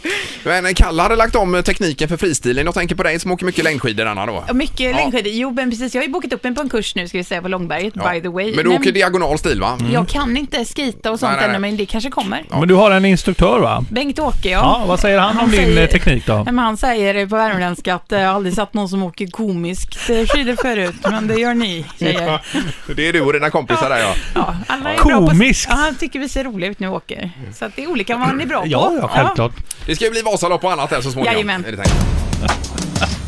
S5: Men Kalle hade lagt om eh, tekniken för fristilen. Jag tänker på dig som åker mycket längdskidor, Anna. Då.
S1: Och Mycket längdskidor. Jo, men precis. Jag har ju bokat upp mig på en kurs nu, ska vi säga, på Långberget,
S5: Ja.
S1: by the way. Mm.
S5: Men du åker diagonal stil, va?
S1: Jag kan inte skita och sånt
S5: Nej, nej,
S1: ännu,
S5: nej.
S1: men det kanske kommer.
S6: Men du har en instruktör va?
S1: Bengt-Åke, ja.
S6: Ja, vad säger han om din eh, teknik då?
S1: Nej, Men han säger på värmländska att eh, jag har aldrig sett någon som åker komiskt eh, skidor förut, men det gör ni tjejer.
S5: Det är du och dina kompisar där, ja.
S1: Ja, alla är
S6: Komiskt.
S1: Bra på, ja, han tycker vi ser roliga ut nu och åker. Så att det är olika vad man är bra på.
S6: Ja, ja, självklart.
S5: Det ska ju bli Vasalopp och annat här så småningom.
S1: Jajamän.
S5: är det tänkt.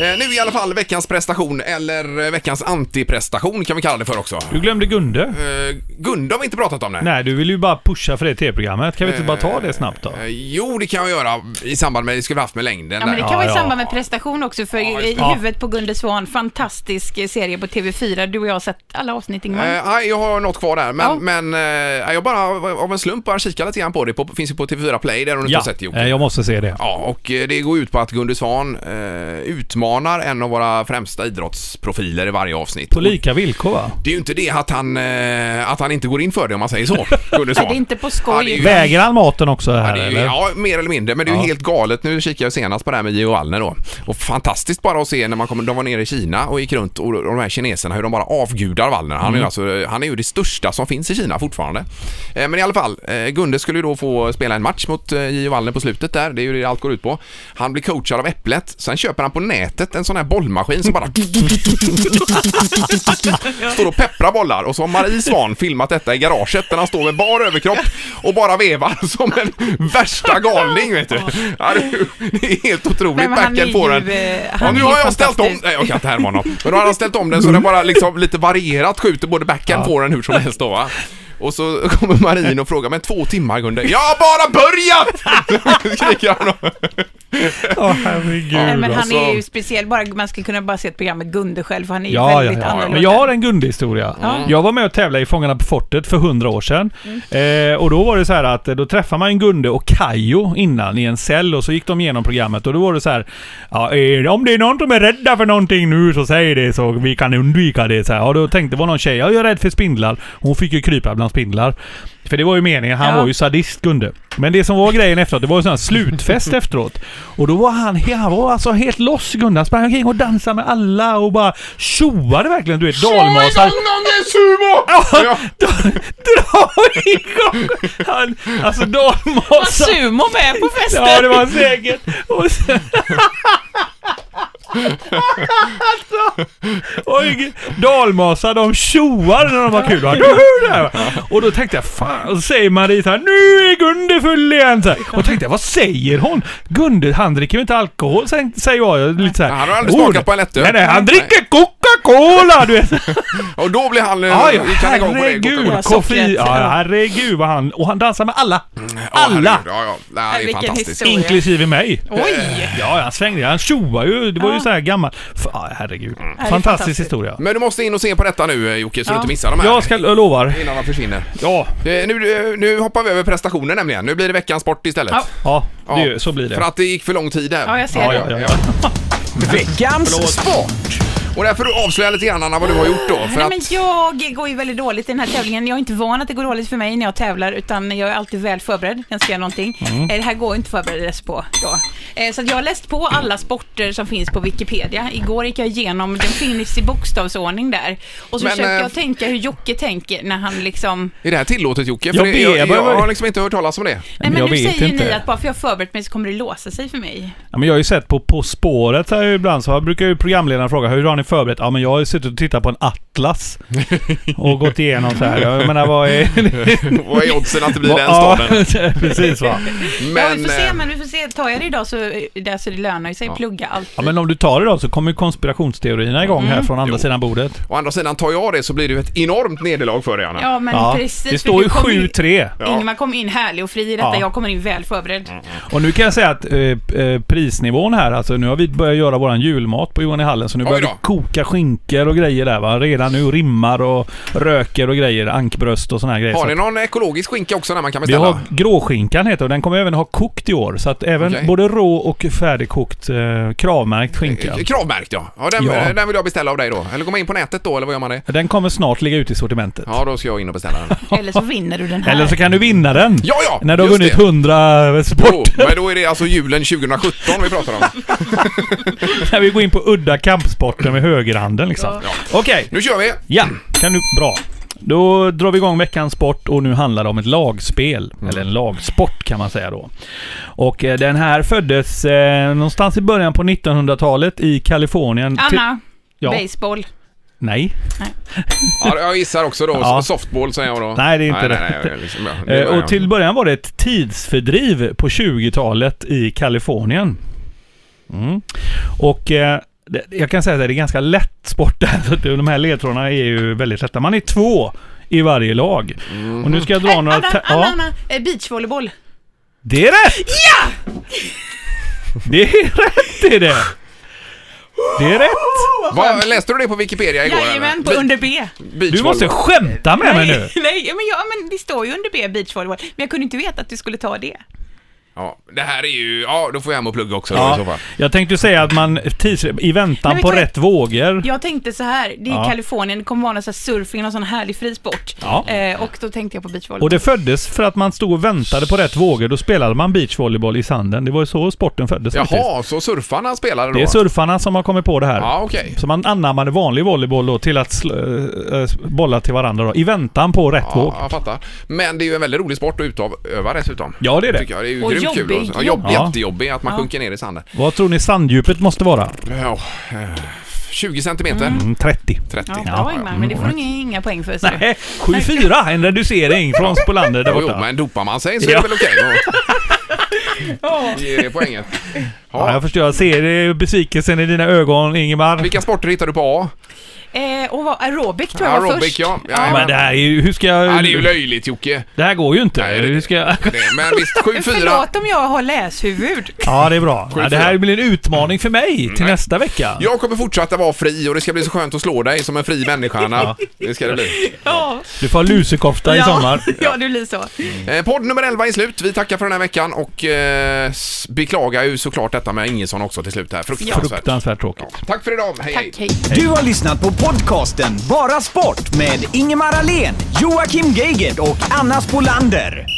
S5: Eh, Nu i alla fall veckans prestation, eller eh, veckans antiprestation kan vi kalla det för också.
S6: Du glömde Gunde.
S5: Eh, Gunde har vi inte pratat om det.
S6: Nej, du vill ju bara pusha för det tv-programmet. Kan vi inte bara ta det snabbt då?
S5: Eh, Jo, det kan jag göra i samband med det skulle vi haft med längden.
S1: Ja, men det
S5: där.
S1: kan
S6: Ja,
S1: vara i
S6: ja.
S1: samband med prestation också, för
S5: Ja,
S1: i
S5: just
S6: det.
S1: huvudet på Gunde Svan, fantastisk eh, serie på TV4. Du och jag har sett alla avsnitt, Ingmar.
S5: Eh, nej, jag har något kvar där, men,
S1: Ja.
S5: men eh, jag bara av en slump bara kikade lite grann på det. På, finns ju på TV4 Play, där har du inte
S6: Ja,
S5: har sett det, Jocke.
S6: eh, jag måste se det.
S5: Ja, och eh, det går ut på att Gunde Svan eh, utmanar en av våra främsta idrottsprofiler i varje avsnitt.
S6: På lika villkor va?
S5: Det är ju inte det att han, eh, att han inte går in för det om man säger så, Gunde
S1: Ja,
S5: Svan.
S1: det är inte på skoj.
S5: Ja, det är ju-
S6: Väger han maten också här
S5: Ja, det är ju-
S6: eller?
S5: Ja, mer eller mindre. Men det är ju
S6: Ja.
S5: helt galet. Nu kikar jag senast på det här med Gio Wallner då. Och fantastiskt bara att se när man kommer, de var nere i Kina och gick runt och, och de här kineserna hur de bara avgudar Wallner. Han, är
S6: Mm.
S5: ju alltså, han är ju det största som finns i Kina fortfarande. Eh, men i alla fall, eh, Gunde skulle ju då få spela en match mot eh, Gio Wallner på slutet där. Det är ju det allt går ut på. Han blir coachad av Äpplet. Sen köper han på nätet en sån här bollmaskin som bara står och pepprar bollar och så har Marie Svan filmat detta i garaget där han står med bar överkropp och bara vevar som en värsta galning vet du. Ja, det är ju- det är helt
S1: Nej,
S5: otroligt.
S1: men han är
S5: Backen
S1: ju,
S5: på den.
S1: eh, han
S5: Ja,
S1: är
S5: nu
S1: ju
S5: har jag ställt om,
S1: fantastisk.
S5: nej jag kan inte härma honom. Men då har han ställt om den så den bara liksom lite varierat skjuter både backhand på den hur som helst då va. Och så kommer Marin och frågar, men två timmar Gunde? Jag har bara börjat! Skriker han då.
S6: Åh,
S1: Nej,
S6: herregud.
S1: men han
S5: alltså.
S1: är ju speciell, bara, man skulle kunna bara se ett program med Gunde själv, för han är ju
S6: Ja, ja,
S1: väldigt
S6: ja.
S1: annorlunda.
S6: Men jag har en Gunde-historia. Jag var med och tävlade i Fångarna på fortet för hundra år sedan.
S1: Mm.
S6: Eh, och då var det så här att eh, då träffade man Gunde och Kajo innan i en cell och så gick de igenom programmet och då var det så här. Ja, eh, om det är någon som är rädda för någonting nu så säg det så vi kan undvika det. Så här. Och då tänkte det var någon tjej, ja, jag är rädd för spindlar. Hon fick ju krypa bland spindlar. För det var ju meningen, han
S1: Ja.
S6: var ju sadist Gunde. Men det som var grejen efteråt, det var ju sån här slutfest efteråt. Och då var han, han var alltså helt loss Gunde. Han sprang omkring och dansade med alla och bara tjoade verkligen. Du vet, dalmasar.
S5: någon med sumo! Ja.
S6: Dra igång! Han, alltså dalmasar.
S1: Sumo med på festen!
S6: Ja, det var han säkert. Och sen... alltså, oj, dalmasar de tjoar när de har kul. va? Duhu, där. Och då tänkte jag, fan, och så säger Marie så här, nu är Gunde full igen. Så här. Och tänkte jag, vad säger hon? Gunde, han dricker ju inte alkohol, sen- säger jag. Lite så här,
S5: Han har aldrig smakat på en lättöl.
S6: Nej, nej, han dricker Coca-Cola! Du vet.
S5: Och då blir han, eh,
S6: Ja, ja,
S5: gick han igång på det.
S6: herregud.
S5: Coca-Cola.
S6: Koffein.
S1: sockret.
S6: Ja, herregud vad han... Och han dansar med alla.
S5: Mm, Ja,
S6: Alla!
S5: herregud. Ja, ja. Nej, det är
S1: Vilken
S5: fantastiskt.
S1: historia.
S6: Inklusive mig.
S1: Oj!
S6: Ja, han svängde. Han tjoade ju. Det var ju
S1: Ja. Mm.
S6: så här gammal. F- ja, herregud. Fantastisk
S1: fantastiskt.
S6: historia.
S5: Men du måste in och se på detta nu eh, Jocke, så du inte missar de här.
S6: Jag ska, jag lovar.
S5: Innan de försvinner.
S6: Ja.
S5: Eh, Nu, nu hoppar vi över prestationen nämligen. Nu blir det veckans sport istället.
S1: Ja.
S6: Ja,
S5: Ja,
S6: det, är ju- så blir det.
S5: För att det gick för lång tid där.
S1: Ja, jag ser
S6: Ja,
S1: det.
S6: ja, ja.
S5: Ja.
S4: Veckans sport.
S5: Och där får du avslöja lite grann Anna vad du har gjort då. För
S1: Nej,
S5: att,
S1: men jag går ju väldigt dåligt i den här tävlingen. Jag är inte van att det går dåligt för mig när jag tävlar, utan jag är alltid väl förberedd när jag ska göra någonting.
S6: Mm.
S1: Eh, Det här går ju inte att förbereda sig på. Då. Eh, Så att jag har läst på alla sporter som finns på Wikipedia. Igår gick jag igenom, den finns i bokstavsordning där. Och så
S5: Men,
S1: försöker
S5: eh,
S1: jag tänka hur Jocke tänker när han liksom...
S5: Är det här tillåtet Jocke? För
S6: Jag
S5: det-
S6: ber-
S5: jag, jag,
S6: jag börjar-
S5: har liksom inte hört talas om det.
S1: Nej, men
S6: jag
S1: nu
S6: vet
S1: säger ni
S6: inte.
S1: att bara för jag har förberett mig så kommer det låsa sig för mig.
S6: Ja, men jag har ju sett på På spåret här ibland, så här brukar ju programledaren fråga hur har ni förberett? Ja, men jag har ju suttit och tittat på en atlas och gått igenom så här. Jag menar, vad är...
S5: Vad är oddsen att det blir den
S6: Ja,
S5: staden?
S6: precis va.
S1: ja, vi får se,
S5: eh,
S1: men vi får se. Tar jag det idag så, eh, där så det lönar ju sig. Plugga allt.
S6: Ja, men om du tar det då så kommer ju konspirationsteorierna igång
S5: Mm.
S6: här från andra sidan bordet.
S5: Å andra sidan, tar jag det så blir det ju ett enormt nederlag för dig Anna.
S1: Ja, men
S6: Ja,
S1: precis.
S6: det
S1: för
S6: står
S1: du
S6: ju
S1: kommer in-
S6: 7-3.
S5: Ja.
S1: Ingmar kom in härlig och fri i detta.
S6: Ja. Mm.
S1: Jag kommer in väl förberedd.
S6: Och nu kan jag säga att eh, eh, prisnivån här, alltså nu har vi börjat göra våran julmat på Johan i hallen. Så nu
S5: Oj
S6: börjar vi
S5: då.
S6: koka skinkor och grejer där va. Redan nu rimmar och röker och grejer. Ankbröst och såna här grejer.
S5: Har
S6: Så
S5: ni någon ekologisk skinka också när man kan
S6: vi
S5: beställa?
S6: har gråskinkan heter det, och den kommer även ha kokt i år. Så att även
S5: Okej.
S6: både rå och färdigkokt eh, kravmärkt skinka.
S5: Eh, Kravmärkt ja. Ja, den, eh,
S6: Ja.
S5: den vill jag beställa av dig då. Eller går man in på nätet då, eller vad gör man det?
S6: Den kommer snart ligga ute i sortimentet.
S5: Ja, då ska jag in och beställa den.
S1: Eller så vinner du den här.
S6: Eller så kan du vinna den.
S5: Ja, ja!
S6: När du har
S5: just
S6: vunnit
S5: det.
S6: 100
S5: Jo,
S6: sport.
S5: men då är det alltså julen 2017 vi pratar om.
S6: När vi går in på udda kampsporter med högerhanden liksom. Okej,
S5: Nu kör vi!
S6: ja. Kan du... Bra. Då drar vi igång veckans sport och nu handlar det om ett lagspel. Eller en lagsport kan man säga då. Och eh, den här föddes eh, någonstans i början på 1900-talet i Kalifornien. Till-
S1: Anna,
S6: Ja.
S1: baseball.
S6: Nej.
S5: Ja, jag gissar också då.
S6: Ja.
S5: Softball säger jag då.
S6: Nej, det är inte
S5: nej,
S6: rätt.
S5: Nej, nej, liksom, ja, det
S6: Eh,
S5: var jag.
S6: och till början var det ett tidsfördriv på 20-talet i Kalifornien. Mm. Och eh, det, jag kan säga att det är ganska lätt sport där. Så att de här ledtrådarna är ju väldigt lätta. Man är två i varje lag. Och nu ska jag dra några...
S1: Anna,
S6: ta-
S1: Anna,
S6: ja,
S1: Anna, eh, beachvolleyboll.
S6: det är rätt! Ja! Det är rätt det är det! Det är rätt!
S5: Vad, läste du det på Wikipedia igår?
S1: Jajamän, på
S5: Be-
S1: under B.
S6: Du måste
S5: beachvolley.
S6: skämta med mig nu!
S1: Nej, men, ja, men det står ju under B, beachvolleyboll. Men jag kunde inte veta att du skulle ta det.
S5: Ja, det här är ju... Ja, då får jag hem och plugga också då, i så
S6: Ja,
S5: fall.
S6: jag tänkte ju säga att man tids, i
S1: Men
S6: väntan
S1: vi
S6: på
S1: tar-
S6: rätt vågor.
S1: Jag tänkte så här, det är
S6: Ja.
S1: Kalifornien, det kommer vara någon sån här surfing, någon sån härlig frisport.
S6: Ja.
S1: Eh, och då tänkte jag på beachvolleyboll.
S6: Och det föddes för att man stod och väntade på rätt vågor. Då spelade man beachvolleyboll i sanden. Det var ju så sporten föddes faktiskt.
S5: Jaha, så surfarna spelade då?
S6: Det är surfarna som har kommit på det här.
S5: Ja, okej.
S6: Så man anammade vanlig volleyboll då till att sl- eh, eh, bolla till varandra då, i väntan på rätt våg.
S5: Ja, jag fattar. Men det är ju en väldigt rolig sport att utöva dessutom.
S6: Ja, det är det.
S5: Tycker jag. Det är ju
S1: Och
S5: grymt kul.
S1: jobbig.
S5: Och, ja, jobbig.
S6: Ja.
S5: Jättejobbig att man sjunker ner i sanden.
S6: Vad tror ni sanddjupet måste vara?
S5: Ja, eh, 20 centimeter.
S6: Mm, 30.
S5: 30.
S1: Ja,
S6: Ja, Mm.
S1: bra Ingmar, men det får du inga, inga poäng för. Så.
S6: Nej, 7-4! En reducering från Spolander där
S5: Jo, jo,
S6: borta.
S5: men dopar man sig så är
S6: Ja.
S5: det väl okej. Ja. Ge det poänget.
S6: Ja,
S5: Ja.
S6: jag förstår. Jag ser eh, besvikelsen i dina ögon, Ingemar.
S5: Vilka sporter hittar du på A?
S1: Eh, och vad, aerobic tror jag var
S5: Aerobic,
S1: först.
S5: ja.
S6: Ja, men det här är ju... Hur ska jag...
S5: Ja, det är ju löjligt Jocke.
S6: det här går ju inte.
S5: Nej, det-
S6: hur ska jag...
S5: Det- Men visst, 7-4.
S1: Förlåt om jag har läshuvud.
S6: Ja, det är bra.
S5: Sju,
S6: Ja, det här blir en utmaning för mig till nästa vecka.
S5: Jag kommer fortsätta vara fri och det ska bli så skönt att slå dig som en fri människa Anna. Det ska det bli.
S1: Ja.
S6: Du får ha lusekofta i sommar.
S1: ja, det blir så.
S5: Eh, podd nummer 11 är slut. Vi tackar för den här veckan och eh, s- beklagar ju såklart detta med Ingesson också till slut här. Fruktansvärt.
S6: Fruktansvärt tråkigt.
S5: Tack för idag. Hej, hej.
S1: Tack, hej.
S4: Du har lyssnat på podcasten Bara Sport med Ingemar Ahlén, Joakim Geigert och Anna Spolander.